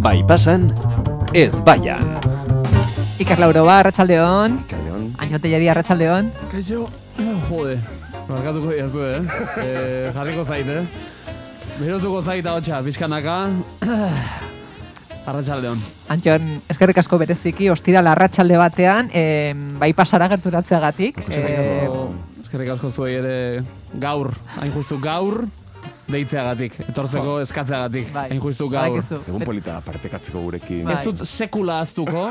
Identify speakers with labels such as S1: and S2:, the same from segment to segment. S1: Bai pasan, ez baian.
S2: Iker Lauroba, arratsaldeon.
S3: Txaldeon.
S2: Ainote jadi arratsaldeon.
S4: Kaixo, jode, markatuko jazu, eh? eh jarriko zait, eh? Berotuko zait ahotsa, bizkanaka. Arratxaldeon.
S2: Antxon, eskerrik asko bereziki, ostira larratxalde batean, eh, bai pasara gerturatzeagatik.
S3: Eskerrik
S2: Eh,
S3: asko.
S4: Eskerrik asko zuei ere gaur, hain justu gaur, deitzeagatik, etortzeko eskatzeagatik,
S2: bai,
S4: hain justu gaur.
S2: badakizu.
S3: Egun polita da partekatzeko gurekin.
S2: Bai.
S4: Ez dut sekula aztuko,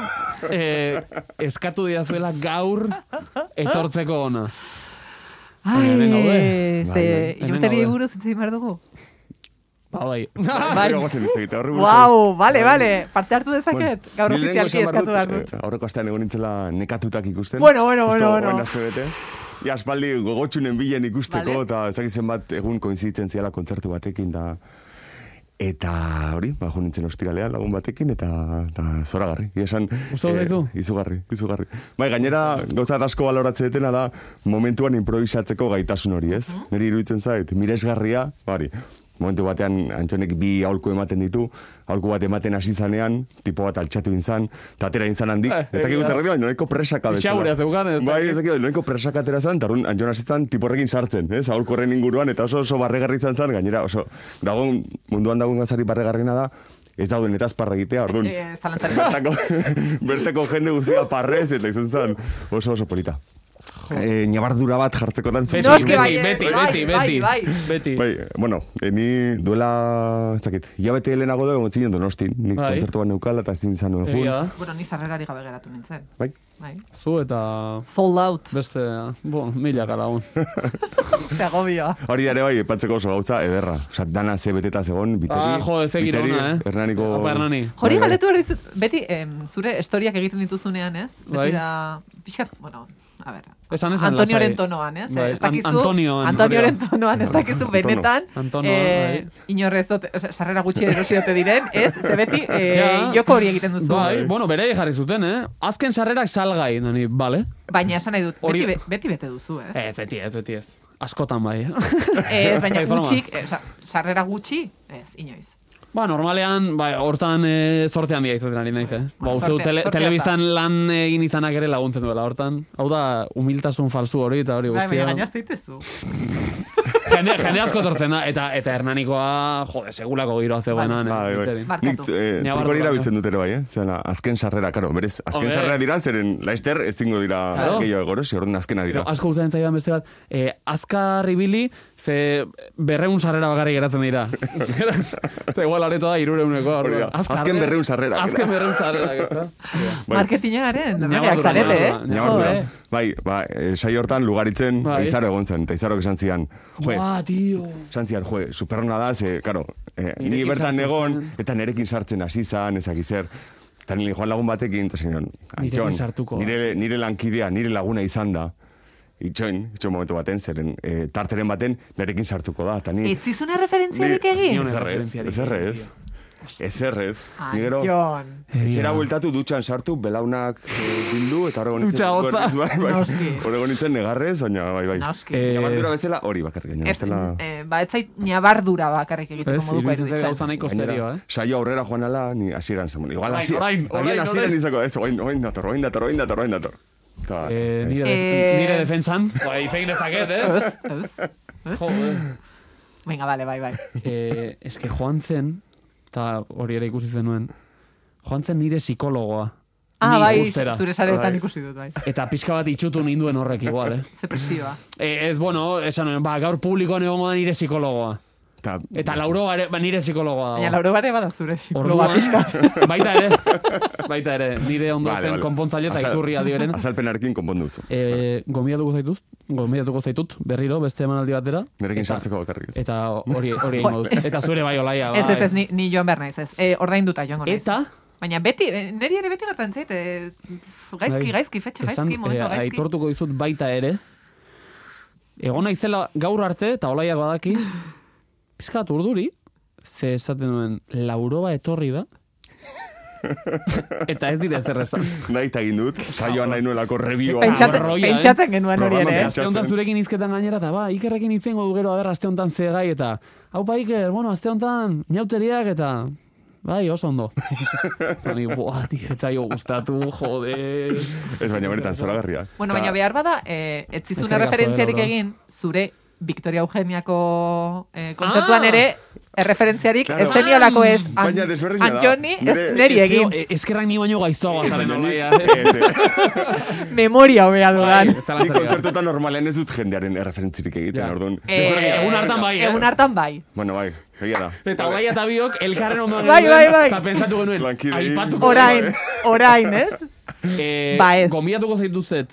S4: eh, eskatu didazuela gaur etortzeko ona.
S2: Ai,
S4: Hemen gaude.
S2: ze,
S3: Bai,
S4: hemen
S2: ioteri
S4: gaude.
S2: buruz itzin behar dugu.
S4: Ba, bai.
S2: Bai.
S3: Gero gotzen hitz egitea, horri buruz.
S2: Wow, bale, bale, parte hartu dezaket.
S3: Bai. Bueno,
S2: Gaur
S3: ni lehenengo
S2: ofizialki
S3: esan behar
S2: eskatu
S3: dut,
S2: behar dut.
S3: eh, Aurreko astean egon nintzela nekatutak ikusten.
S2: Bueno, bueno, bueno, bueno.
S3: Justo, bete. Ja, aspaldi gogotxunen bilen
S2: Vale.
S3: ikusteko, eta ezagitzen bat egun koinziditzen ziala kontzertu batekin, da... Eta hori, ba, jo nintzen ostiralean lagun batekin, eta, eta zoragarri. Ia esan, eh,
S4: Gustatu zaizu?
S3: izugarri, izugarri. Bai, gainera, gauza asko baloratzen detena da, momentuan improvisatzeko gaitasun hori, ez? Neri iruditzen zait, miresgarria, bari, momentu batean Antxonek bi aholku ematen ditu, aholku bat ematen hasi zanean, tipo bat altxatu inzan, eta atera inzan handik,
S4: Eh,
S3: ez dakigu
S4: eh,
S3: zer baina noiko presaka bezala.
S4: Itxaura zeukan, ez
S3: Bai,
S4: dakit.
S3: ez dakigu, noiko presaka atera zan, tarun Antxon hasi zan, tipo horrekin sartzen, ez? Aholku horren inguruan, eta oso oso barregarri izan zan, gainera oso, dagoen, munduan dagoen gazari barregarriena da, ez dauden eta azparra egitea, orduan.
S2: Eh, zalantzarik gabe.
S3: Bertako, bertako jende guztia parrez, eta izan zen oso oso polita. E, nabardura bat jartzeko dan
S4: Beti,
S2: Noski
S4: beti,
S2: baietz,
S4: beti,
S2: bai,
S4: beti,
S2: bai,
S4: beti,
S2: bai.
S4: beti.
S3: Bai, bueno, eh, ni duela, ez dakit, hilabete lehenago da, egon zinen donostin, nik
S4: Bai.
S3: kontzertu bat neukala eta ezin izan nuen
S4: Egia da.
S3: jun.
S2: Bueno, ni sarrerari gabe geratu nintzen.
S3: Bai,
S2: Bai.
S4: Zu eta
S2: Sold out,
S4: beste, bon, milaka lagun.
S2: ze agobioa.
S3: hori ere bai, epatzeko oso gauza ederra. Osa, dana ze beteta zegon, biteri.
S4: Ah, jo, ez egin
S3: Biteri,
S4: ona, eh?
S3: Hernaniko...
S4: Apa, Hernani.
S2: Hori
S3: Bai, bai.
S2: galetu behar dizut, beti, em, zure historiak egiten dituzunean, ez? Beti
S4: Bai.
S2: da, pixkat, bueno, a ver,
S4: Esan esan
S2: Antonioren
S4: lasai.
S2: tonoan, ez?
S4: Bai,
S2: ez dakizu,
S4: An- Antonioan.
S2: Antonioren
S4: Hori da.
S2: tonoan, ez dakizu benetan,
S4: Antono,
S2: eh,
S4: bai.
S2: inorrez dut, o sea, sarrera gutxi erosiote diren, ez? Ze beti, eh,
S4: Ja.
S2: joko hori egiten duzu.
S4: Bai, bueno, bere jarri zuten, eh? Azken sarrerak salgai, noni, bale?
S2: Baina esan nahi dut, beti,
S4: Hori- Eh,
S2: be- beti bete duzu, ez?
S4: Ez, beti ez, beti ez. Askotan bai, eh?
S2: Ez, baina
S4: Ez, broma.
S2: gutxik, eh, oza, sarrera gutxi, ez, inoiz.
S4: Ba, normalean, bai, hortan e, zorte handia izaten ari naiz, eh? Ba,
S2: Bueno,
S4: uste dut
S2: zortea-
S4: tele,
S2: zortea
S4: telebistan lan egin izanak ere laguntzen duela, hortan. Hau da, humiltasun falsu hori eta hori
S2: Bai, baina
S4: guztia.
S2: gaina zeitezu.
S4: Jende, jende asko tortzen da, eta, eta hernanikoa, jode, segulako giroa zegoenan,
S3: Bai, bai.
S4: eh?
S2: Barkatu.
S3: Nik eh,
S4: Ni
S3: truko hori
S4: barkatu.
S3: erabiltzen dut ere bai, eh? Zena, azken sarrera, karo, berez, azken
S4: Hombre.
S3: sarrera dira, zeren laester ezingo dira
S4: Claro.
S3: gehiago egorosi, orduan azkena
S4: Gero,
S3: dira.
S4: asko gustatzen zaidan beste bat, eh, azkar ibili, ze berreun sarrera bakarrik geratzen dira. Beraz, Eta igual aretoa da irureunekoa.
S3: Hori da,
S4: orduan. Azkar- eh?
S3: azken berrehun sarrera.
S4: Azken berreun sarrera, ezta?
S3: Bai.
S2: Marketingaren, nabareak
S4: Ñabardura,
S2: zarete, eh?
S4: ñabardura,
S3: Ñabardura.
S2: Jo, eh?
S3: Bai, ba, eh, sai hortan lugaritzen
S4: Bai.
S3: Izaro egon zen, eta Izarok esan zian, joe,
S4: Ba, tio.
S3: esan zian, joe, superrona da, ze, karo, eh, ni
S4: Nirekin
S3: bertan
S4: sartu
S3: egon,
S4: zen.
S3: eta nerekin sartzen hasi zan, ezakizer, eta nire joan lagun batekin, eta zinon,
S4: Nirekin
S3: Antxon,
S4: sartuko.
S3: nire, nire lankidea, nire laguna izan da, itxoin, itxoin momentu baten, zeren, eh, tarteren baten, nerekin sartuko da, eta
S4: Bai.
S3: ni...
S2: Ez zizuna referentziarik
S3: Ni-
S2: egin?
S4: Ni una
S3: Ez errez,
S4: referentziarik.
S3: ez errez. Ez errez. Ni gero,
S2: Antion.
S3: etxera bueltatu dutxan sartu, belaunak eh, bildu, eta horrego nintzen...
S4: Dutxa hotza.
S3: Bai, bai,
S2: Noski.
S3: Horrego nintzen negarrez, baina bai, bai.
S2: Noski.
S4: Eh,
S3: Nabardura bezala hori bakarrik gaina,
S2: Ez,
S3: bestela...
S2: eh, ba, ez zait nabardura bakarrik egiteko
S4: Ez,
S2: moduko
S4: iruditzen zait gauza
S2: iruditzen.
S4: nahiko
S3: Bai. gainera,
S4: serio, eh?
S3: Saio aurrera joan ala, ni hasieran zen. Igual
S4: Orain,
S3: hasi-
S4: orain,
S3: agian
S4: orain,
S3: hasieran
S4: orain.
S3: izako, ez, orain, orain dator, orain dator, orain dator, orain dator. Ta,
S4: Eh, nire,
S3: ez.
S2: Eh.
S4: nire defensan. Ba, izegin dezaket, eh?
S2: Ez, ez.
S4: Jo, eh.
S2: Venga, vale, bai, bai.
S4: eh, eske joan zen, eta hori ere ikusi zenuen, joan zen nire psikologoa.
S2: Ah,
S4: Ni
S2: bai,
S4: ikustera.
S2: zure saretan
S3: Bai.
S2: ikusi dut, bai.
S4: Eta pixka bat itxutu ninduen horrek igual, eh?
S2: Ze presioa.
S4: E, ez, bueno, esan nuen, ba, gaur publikoan egongo da nire psikologoa.
S3: Ta,
S4: Eta lauro gare, ba, nire psikologoa
S2: Baina,
S4: dago.
S2: lauro bare bada zure.
S4: Orduan,
S2: Orduan. Pixkat.
S4: baita ere, baita ere, nire ondo
S3: Vale,
S4: zen
S3: vale.
S4: konpontzaile eta
S3: Azal-
S4: iturria diren.
S3: Azalpenarekin konpondu duzu.
S4: E, gombiatuko zaituz, gombiatuko zaitut, berriro, beste emanaldi batera.
S3: Nerekin
S4: Eta-
S3: sartzeko bakarrik. ez.
S4: Eta hori hori egingo dut. Eta zure bai olaia. Bai.
S2: Ez, ez, ez, ni, ni joan behar naiz, ez. E, ordainduta joango naiz.
S4: Eta,
S2: Baina beti, eh, neri ere beti gertan zait, eh, gaizki,
S4: Bai.
S2: gaizki, fetxe,
S4: esan,
S2: gaizki, momentu
S4: eh,
S2: gaizki.
S4: aitortuko dizut baita ere, egon naizela gaur arte, eta olaiak badaki, pizka bat urduri, ze esaten duen, lauroba etorri da, eta ez dira zer esan.
S3: Nahi eta egin dut, saioan nahi nuelako review.
S2: Pentsatzen,
S4: Arroia, eh?
S2: pentsatzen genuen hori
S3: Programa
S2: ere, eh?
S3: beste.
S4: Aste honetan zurekin hizketan gainera, eta ba, ikerrekin ba, izango du gero, aber, aste honetan ze gai, eta, hau pa, iker, bueno, aste honetan, inauteriak, eta, Bai, oso ondo. Eta ni, buah, tio, etzaio gustatu, jode.
S3: Ez baina benetan, zoragarria.
S2: Bueno,
S3: Ta-
S2: baina behar bada, eh, ez zizuna
S4: Eskerrik asko,
S2: referentziarik
S4: Laura.
S2: egin, zure Victoria Eugeniako eh, kontzertuan
S4: Ah!
S2: ere, erreferentziarik
S3: Claro.
S2: ez zeniolako ez,
S3: Ah, baina desberdina da.
S2: Antoni ez
S3: Nire-
S2: neri egin,
S4: E- Ezkerrak ni baino gaiztoa
S3: Ez,
S4: gazaren
S3: baina eh, ni-
S4: olaia.
S3: ez, ez.
S2: memoria
S4: Bai,
S2: hobea
S3: Bai.
S2: dudan.
S3: Ni kontzertutan normalean ez dut jendearen erreferentzirik egiten,
S4: Ja.
S3: orduan.
S2: Eh,
S3: desberdina.
S4: egun hartan bai, eh?
S2: Egun hartan bai.
S3: Bueno, bai, egia da.
S4: Eta bai, olaia eta biok elkarren ondoan
S2: Bai,
S4: genuen,
S2: bai, bai.
S4: Eta pensatu genuen,
S3: Lankide-
S4: aipatuko
S2: Orain, orain, ez?
S4: Eh,
S2: Ba ez.
S4: Gombidatuko zaituzet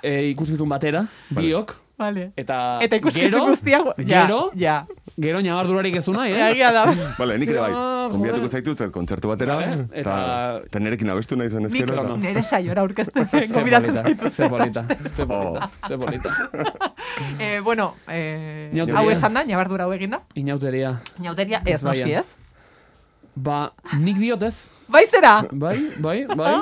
S4: eh, ikuskizun batera, biok,
S2: Vale.
S4: eta,
S2: Eta ikuskizu
S4: gero,
S2: guztia, ja,
S4: gero,
S2: ja.
S4: gero nabardurarik ez nahi, eh?
S2: Egia da.
S3: Bale, nik ere bai.
S4: Ah, joder.
S3: Konbiatuko zaituzet kontzertu batera.
S4: Vale,
S3: Eta,
S4: eta-
S3: eta nerekin abestu nahi zen
S2: Nik
S3: ezkero. Eta...
S4: Nik-
S2: nire saiora aurkezten
S4: Ze
S2: gobidatzen
S4: polita,
S2: zaitu.
S4: ze polita, ze polita, ze polita.
S2: Eh, bueno, eh,
S4: Inauteria.
S2: hau esan da, nabardura hau eginda.
S4: Inauteria.
S2: Inauteria ez,
S4: Ez
S2: noski
S4: baian.
S2: ez.
S4: Ba, nik diot ez.
S2: Bai zera!
S3: Ba-
S4: Bai, bai, bai.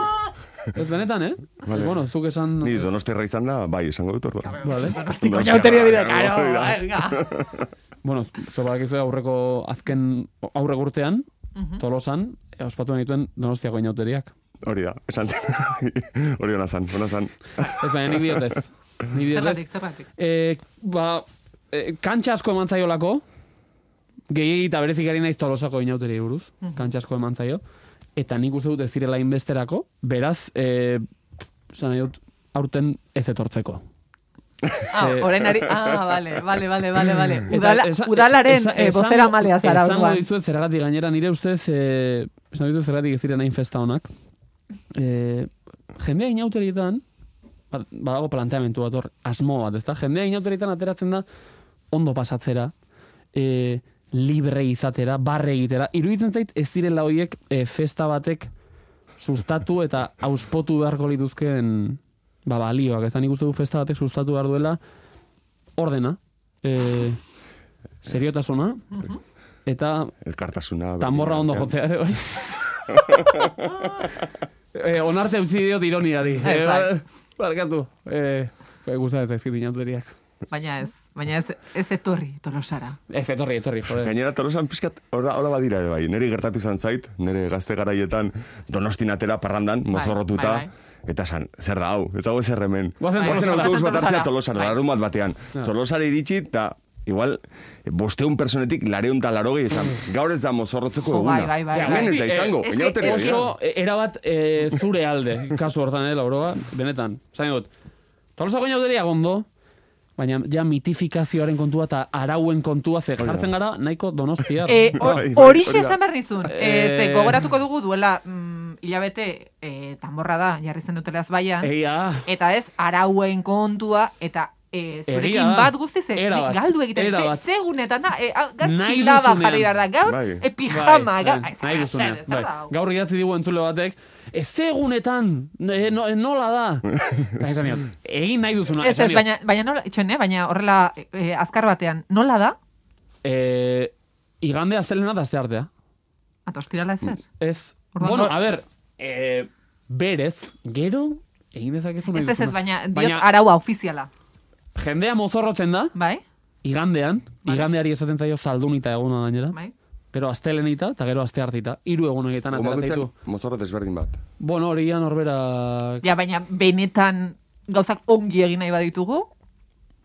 S4: Ez benetan, eh? Vale. Bueno, zuk esan...
S3: Ni donosterra izan da, bai, esango dut orduan.
S4: Vale.
S2: Tiko
S3: Donostia,
S2: inauteria dira,
S3: claro,
S2: karo,
S3: hori da.
S2: venga.
S4: Bueno, zobakizu aurreko azken aurre urtean, Tolosan, eh, ospatu nituen Donostiako inauteriak.
S3: Hori da, esan zen. Hori ona zan, ona zan.
S4: Ez baina nik diot ez. Nik diot ez.
S2: Zergatik, zergatik.
S4: Eh, ba, eh, kantxa asko eman zaiolako, gehiegi eta berezik ari naiz Tolosako inauteri buruz, kantxa asko eman zaio, eta nik uste dut ez direla inbesterako, beraz, eh, zan nahi dut, aurten ez etortzeko.
S2: Ah,
S4: Eh,
S2: orain ari... Ah, vale, vale, vale, vale, vale.
S4: Eta
S2: Udala,
S4: esa-
S2: udalaren
S4: esa-
S2: eh,
S4: esango-
S2: bozera malea zara
S4: Esango
S2: orduan.
S4: dizuet zergatik gainera, nire ustez, eh, esango dizuet zergatik ez diren hain festa honak. Eh, jendea inauterietan, bad- badago planteamentu bat hor, asmo bat, ezta? Jendea inauterietan ateratzen da, ondo pasatzera, eh, libre izatera, barre egitera. Iruditzen zait ez direla horiek eh, festa batek sustatu eta auspotu beharko lituzkeen ba, balioak. Ez da nik uste du festa batek sustatu behar duela ordena, eh, seriotasuna, eta
S3: Elkartasuna.
S4: tamborra ondo jotzea ere, bai. eh, onarte utzi diot ironiari.
S2: Ez,
S4: Eh,
S2: bai.
S4: ba- barkatu. Eh, bai, gustatzen zaizkit inauteriak.
S2: Baina ez, baina ez, ez etorri tolosara.
S4: Ez, etorri, etorri, joder.
S3: Gainera tolosan pixkat, hola, hola badira ere bai. Neri gertatu izan zait, nere gazte garaietan donostin atera parrandan, mozorrotuta.
S2: bai,
S3: Eta san, zer da hau, ez dago zer hemen.
S4: Guazen
S3: Guazen
S4: Tolosara.
S3: autobus bat hartzea
S2: Tolosara.
S3: tolosara,
S2: Bai.
S3: larun bat batean. Tolosara iritsi, eta igual, bosteun personetik lareun eta laro gehi esan. Gaur ez da mozorrotzeko
S2: Jo,
S3: eguna.
S2: bai, bai, bai,
S4: Ja,
S3: Hemen
S4: bai.
S3: ez da izango,
S2: Eh,
S3: inauteriak
S2: eske
S3: dira.
S4: Oso, eh, erabat eh, zure alde, kasu hortan, eh, lauroa, benetan. Zain dut, tolosako inauteriak ondo, baina ja mitifikazioaren kontua eta arauen kontua ze jartzen gara nahiko donostia.
S2: E,
S3: Bai, bai,
S2: hori
S3: hori da.
S2: esan behar nizun. E, ze,
S4: Eh.
S2: gogoratuko dugu duela mm, hilabete e, tamborra da, jarri zen dutela azbaian.
S4: Egia da.
S2: Eta ez, arauen kontua, eta e,
S4: Egia
S2: zurekin
S4: da.
S2: bat guztiz e,
S4: Erabat,
S2: galdu egiten. Ze,
S4: erabat.
S2: segunetan da, e, a- gaur
S4: Nahi
S2: txilaba
S4: duzunean.
S2: jarri behar da, gaur
S3: Bai.
S2: e, pijama.
S4: Bai,
S2: gaur,
S4: bai,
S2: ez,
S4: nahi
S2: ah,
S4: duzunean,
S2: zer, zer
S4: bai.
S2: da hau?
S4: Gaur idatzi digu entzule batek, ez egunetan, e, no, e, nola da? Eta esan diot, egin nahi duzuna.
S2: Ez,
S4: esan
S2: ez,
S4: diot,
S2: baina, baina, nola, itxoin, eh? baina horrela e, e, azkar batean, nola da?
S4: E, igande astelena da artea.
S2: Ato, ostirala ezer.
S4: Ez.
S2: Orduan,
S4: bueno,
S2: hor-
S4: a ber, e, berez, gero, egin dezakezu nahi
S2: Ez, ez, ez,
S4: duzuna.
S2: baina, diot araua ofiziala,
S4: jendea mozorrotzen da,
S2: bai?
S4: igandean,
S2: Bai.
S4: igandeari esaten zaio zaldunita eguna gainera.
S2: Bai?
S4: Gero astelenita eta gero asteartita. Hiru egunetan
S3: Goma
S4: atera
S3: bakoitzean
S4: zaitu.
S3: mozorro desberdin bat.
S4: Bueno, hori ja norberak
S2: Ja, baina benetan gauzak ongi egin nahi baditugu,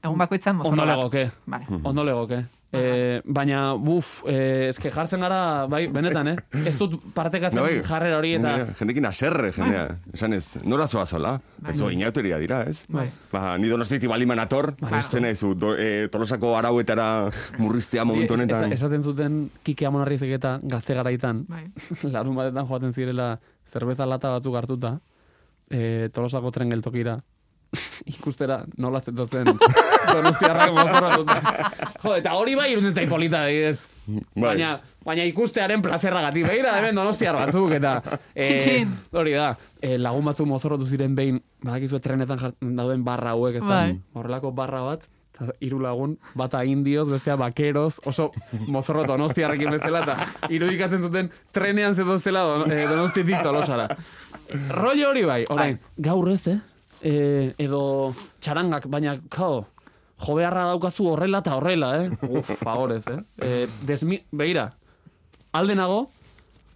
S2: egun bakoitzan
S4: ondo
S2: mozorra bat.
S4: legoke. Mm.
S2: Vale.
S3: Mhm.
S4: Ondo legoke. E, baina, buf, e, eske jartzen gara, bai, benetan, eh? Ez dut partekatzen
S3: Bai.
S4: jarrera hori eta... Ah.
S3: Jendea- Jendekin aserre, jendea. Esan ez, nora zoa zola?
S4: Bai.
S3: Ez zoa inauteria dira, ez?
S2: Bai.
S3: Ba, ni donostitik balima nator,
S2: Bai.
S3: ez zena izu, do, e, tolosako arauetara murriztea momentu
S4: Es-
S3: honetan.
S4: es- esaten zuten Kike Amonarrizek eta gazte garaitan,
S2: Bai.
S4: larun batetan joaten zirela zerbeza lata batzuk hartuta, e, tolosako tren geltokira, ikustera nola zetozen donostiarrak mozorratuta. Jode, eta hori bai iruditzen zait polita, adibidez.
S3: Bai.
S4: Baina, baina ikustearen plazerragatik, begira hemen donostiar batzuk, eta e,
S2: Txin.
S4: hori da, e, lagun batzuk mozorrotu ziren behin, badakizue trenetan jart- dauden barra hauek, ez da,
S2: Bai.
S4: horrelako barra bat, eta hiru lagun, bata indioz, bestea bakeroz, oso mozorro donostiarrekin bezala, eta irudikatzen zuten trenean zedoztela don, eh, donostitik tolosara. Rollo hori bai, orain, gaur ez, eh? Eh, edo txarangak, baina, kao, jobearra daukazu horrela eta horrela, eh? Uf, favorez, eh? eh desmi, begira, aldenago,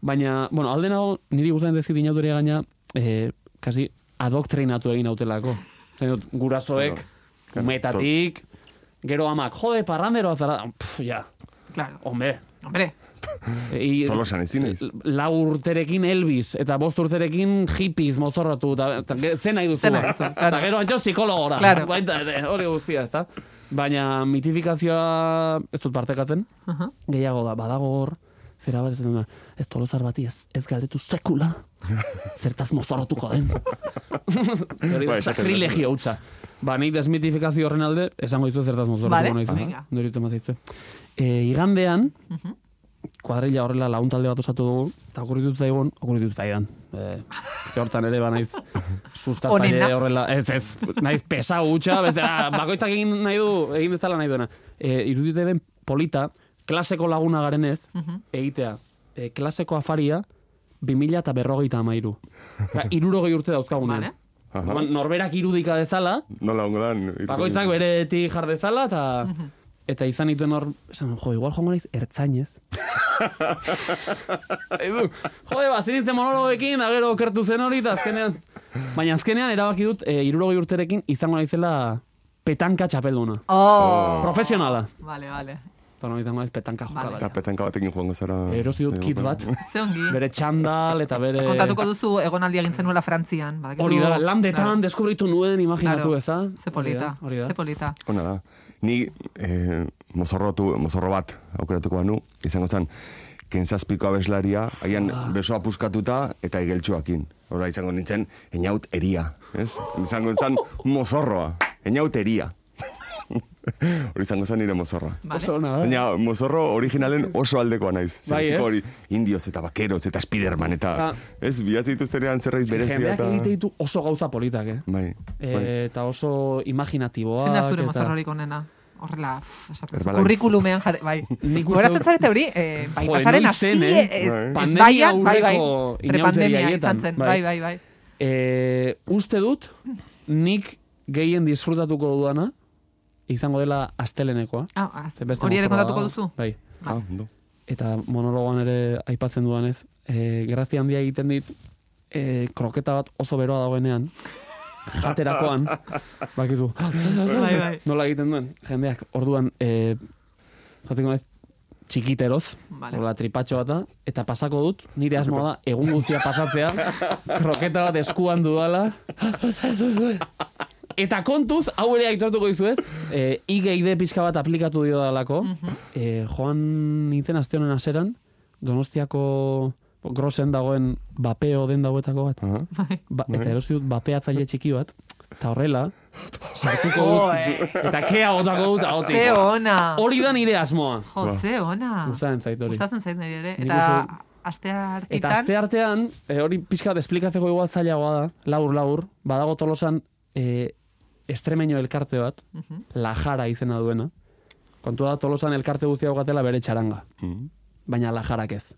S4: Baina, bueno, alde nago, niri gustatzen dezkit inautoria gaina, e, kasi adoktrinatu egin autelako. Zain dut, Gurasoek,
S3: Claro,
S4: umetatik, gero amak, jode, parranderoa zara, pff, ja,
S2: Claro.
S4: hombre.
S2: Hombre,
S4: E,
S3: Tolosan ezin ez.
S4: Lau urterekin Elvis, eta bost urterekin hippies mozorratu, eta, eta ge- ze nahi duzu.
S2: Ze nahi duzu,
S4: eta
S2: claro.
S4: gero antxo psikologora.
S2: Claro.
S4: Baita ere, hori guztia, ezta? Baina mitifikazioa ez dut partekatzen,
S2: Aha.
S4: gehiago da, badago hor, zera bat ez dena, ez tolozar bati ez, ez galdetu sekula, zertaz mozorrotuko den. Hori
S3: Ba,
S4: da,
S3: esaten
S4: sakrilegio hutsa. Ba, nik desmitifikazio horren alde, esango ditu zertaz mozorrotuko
S2: Vale,
S4: noiz.
S2: venga.
S4: Nori ditu. E, igandean, kuadrilla horrela lagun talde bat osatu dugu, eta okurritut zaigun, okurritut zaidan. E, ze hortan ere ba naiz sustatzaile
S2: Onena.
S4: horrela, ez ez, naiz pesa hutsa, beste, ah, bakoitzak egin nahi du, egin dezala nahi duena. E, irudite den polita, klaseko laguna garenez,
S2: Mhm.
S4: egitea, e, klaseko afaria, 2000 eta berrogeita amairu. Eta irurogei urte dauzkagunean.
S2: Vale.
S3: Aha.
S4: Orduan, Norberak irudika dezala,
S3: Nola hongo dan?
S4: Bakoitzak beretik jar dezala eta
S2: Mhm.
S4: eta izan dituen hor, esan, jo, igual jongo naiz ertzainez. Edu, Jode, ba, zirintzen monologekin, agero okertu zen hori, eta azkenean... Baina azkenean erabaki dut, e, irurogei urterekin izango naizela petanka txapelduna.
S2: Oh.
S4: Profesionala.
S2: Vale, vale.
S4: Eta no izango naiz petanka jokalaria.
S3: Eta petanka batekin joango zara...
S4: Erosi dut kit bat,
S2: Ze ongi.
S4: bere txandal eta bere...
S2: Kontatuko duzu egonaldi egin zenuela Frantzian. badakizu-
S4: Hori da,
S2: Claro.
S4: landetan deskubritu nuen imaginatu
S2: Claro.
S4: ez da.
S2: Ze polita.
S4: Hori da.
S2: Ze polita.
S3: Ona da. Ni eh, mozorrotu, mozorro bat aukeratuko banu, izango zen, kentzazpiko abeslaria, haian
S4: Ah.
S3: besoa puskatuta eta igeltsuakin. Hora izango nintzen, enaut eria, ez? Izango zen mozorroa, enaut eria. Hori izango zen nire mozorroa.
S2: Vale.
S4: Oso ona da.
S3: Baina mozorro originalen oso aldekoa naiz.
S4: Ah. Bai,
S3: Zertiko
S4: ez?
S3: hori indioz eta bakeroz eta spiderman eta...
S4: Ah.
S3: Ez, bilatzen dituztenean zerbait berezia
S4: Jendeak
S3: eta...
S4: egite ditu oso gauza politak, eh?
S3: Bai, bai.
S4: E, eta oso imaginatiboa.
S2: Zein da zure mozorrorik onena? Horrela, pff, esaten duzu.
S3: Herbalife.
S2: Kurrikulumean jare, bai.
S4: Nik uste
S2: Horatzen
S4: dut-
S2: zarete hori, eh, bai
S4: Joder,
S2: pasaren
S4: noiz zen,
S2: hastile,
S4: eh?
S2: ez-
S3: Bai.
S2: ez
S4: Pandemia
S2: baian, bai, bai,
S4: aurreko
S2: prepandemia
S4: inauteria
S2: izan
S4: haietan,
S2: zen,
S4: bai.
S2: bai, bai, bai.
S4: E, uste dut, nik gehien disfrutatuko dudana, izango dela astelenekoa.
S2: Ah, az-
S4: Ze beste
S2: hori ere
S4: mozorroa
S2: kontatuko
S4: da.
S2: duzu?
S4: Bai.
S3: Ah, ondo.
S4: Eta monologoan ere aipatzen dudanez, e, grazia handia egiten dit, e, kroketa bat oso beroa dagoenean, jaterakoan, bakitu,
S2: Bai, bai.
S4: nola egiten duen, jendeak, orduan, e, jateko naiz, txikiteroz,
S2: Vale.
S4: hola tripatxo bata, eta pasako dut, nire asmoa da, egun guztia pasatzea, kroketa bat eskuan dudala, eta kontuz, hau ere aitortuko dizuet, e, IGID pixka bat aplikatu dio dalako,
S2: Mhm.
S4: e, joan nintzen aste honen aseran, donostiako grosen dagoen bapeo den dagoetako bat,
S3: Aha.
S4: Ba, eta erosi dut bapeatzaile txiki bat, eta horrela, sartuko dut, eta kea botako dut
S2: Ze
S4: ahotik.
S2: ona.
S4: Hori da nire asmoa.
S2: Jo,
S3: Ba.
S2: ze ona.
S4: Gustatzen zait hori.
S2: Gustatzen zait niri ere.
S4: Nik
S2: Eta
S4: uste
S2: astea
S4: Eta azte
S2: hartitan,
S4: artean, e, hori pixka bat esplikatzeko igual zailagoa da, laur, laur, badago tolosan e, estremeño elkarte bat, la jara izena duena. Kontua da tolosan elkarte guztia gatela bere txaranga,
S3: Mhm.
S4: baina la jarak ez.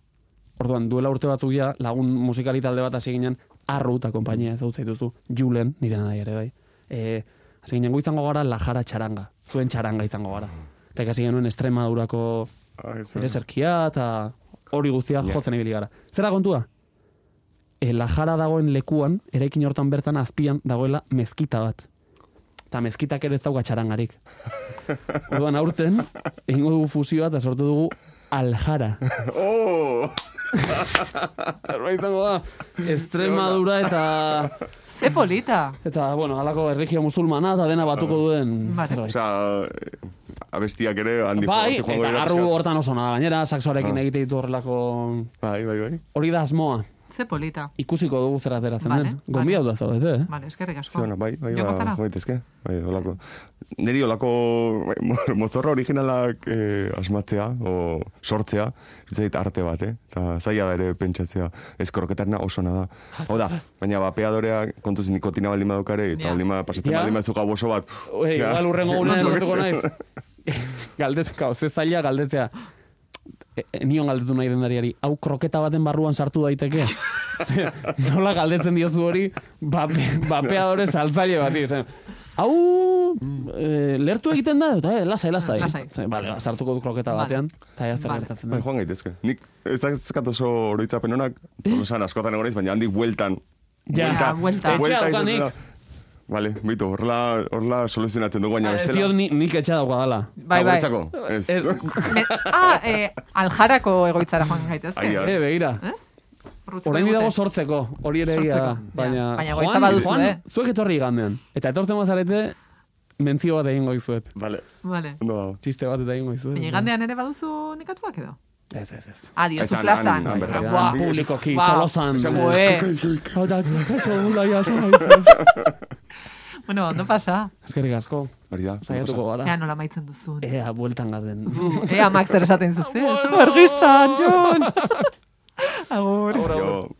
S4: Orduan, duela urte batzuk ja, lagun musikali talde bat hasi ginen, arru eta kompainia ez zaituzu, Julen, nire nahi ere bai. E, hasi ginen gu izango gara la jara txaranga, zuen txaranga izango gara. Eta ikasi genuen Extremadurako
S3: Ah, ez,
S4: Zer ezerkia eta hori guztia jotzen ibili gara. Zera kontua? E, lajara dagoen lekuan, eraikin hortan bertan azpian dagoela mezkita bat. Eta mezkitak ere ez dauka txarangarik. Orduan aurten, egingo dugu fusioa eta sortu dugu aljara.
S3: Oh!
S4: Erba izango da, Extremadura eta,
S2: ze polita.
S4: eta bueno, alako erregio musulmana eta dena batuko duen
S2: Vale.
S4: zerbait.
S3: Osea, abestiak ere handi
S4: Bai,
S3: joan- joango
S4: eta
S3: dira
S4: arru
S3: pixkat.
S4: hortan oso nada gainera, saksoarekin
S3: Ah.
S4: egite ditu horrelako...
S3: Bai, bai, bai.
S4: Hori da asmoa.
S2: Ze polita.
S4: ikusiko dugu zer ateratzen
S2: Vale,
S4: den.
S2: vale.
S4: Gombia da zaudete, eh?
S2: Vale, eskerrik asko.
S3: Ze ona, bai, bai,
S2: Joko zara?
S3: ba, joitezke. Bai, holako. Neri holako bai, mo- mozorro originalak eh, asmatzea, o sortzea, zait arte bat, eh? Eta zaila da ere pentsatzea. Ez kroketarna oso ona da. Hau da, baina bapeadorea kontuz nikotina baldin badukare, eta
S2: Ja.
S3: baldin ba- pasatzen
S4: Ja.
S3: baldin baduzu gau oso bat.
S4: Ei,
S3: Ja.
S4: igual urrengo gunean esatuko naiz. Galdetzka, ze zaila galdetzea. E, e, nion galdetu nahi dendariari, hau kroketa baten barruan sartu daiteke. Ba, Nola galdetzen diozu hori, bape, bapeadore saltzaile bati. zen, Hau eh, lertu egiten da, eta eh, lasai, lasai.
S2: Lasai.
S4: Bale, ba, sartuko du kroketa
S2: Vale.
S4: batean, eta ea zer
S2: Vale.
S4: gertatzen
S3: Bai,
S4: da.
S3: joan gaitezke. Nik ezazkat oso oroitzapen honak, esan askotan egon naiz, baina handik bueltan.
S4: Ja,
S2: buelta.
S3: Buelta
S4: Etxea
S3: izaten
S4: daukanik.
S3: da. Vale, bitu, horrela, horrela soluzionatzen dugu, baina
S4: Ez
S3: bestela.
S4: diot ni- nik etxea daugadala.
S2: Bai, bai.
S3: Aguretzako,
S4: Ez-
S3: Ez.
S2: Me, ah, eh, aljarako egoitzara joan
S3: Ai,
S2: gaitezke.
S3: ai.
S4: Eh, begira.
S2: Urrutziko
S4: Orain dago
S2: digute.
S4: sortzeko, hori ere egia da.
S2: Bai, Sortzeko,
S4: Baina,
S2: ja. Baina goitza
S4: Juan,
S2: baduzu,
S4: Juan,
S2: eh?
S4: zuek etorri gandean. Eta etortzen bazarete, mentzio bat egingo izuet.
S3: Vale,
S2: Vale.
S3: ondo dago.
S4: Txiste bat eta egingo izuet.
S2: Baina igandean ere baduzu nekatuak edo?
S4: Ez, ez, ez.
S2: Ah, diozu
S3: Ez, han-
S2: plazan.
S3: han- han bertan.
S2: Buah, eh.
S4: Publiko ki,
S2: Wow.
S4: tolosan.
S2: Joe.
S4: Hau da, kaso gula ja, zai.
S2: Bueno, ondo pasa.
S4: Eskerrik asko.
S3: Hori da.
S4: Saiatuko
S2: Ea
S4: gara.
S2: nola maitzen duzun.
S4: Ea, bueltan gaden.
S2: Ea eh? Max zer esaten zuzen.
S4: Bueno.
S2: Argistan, Jon! Agur.
S3: Yo,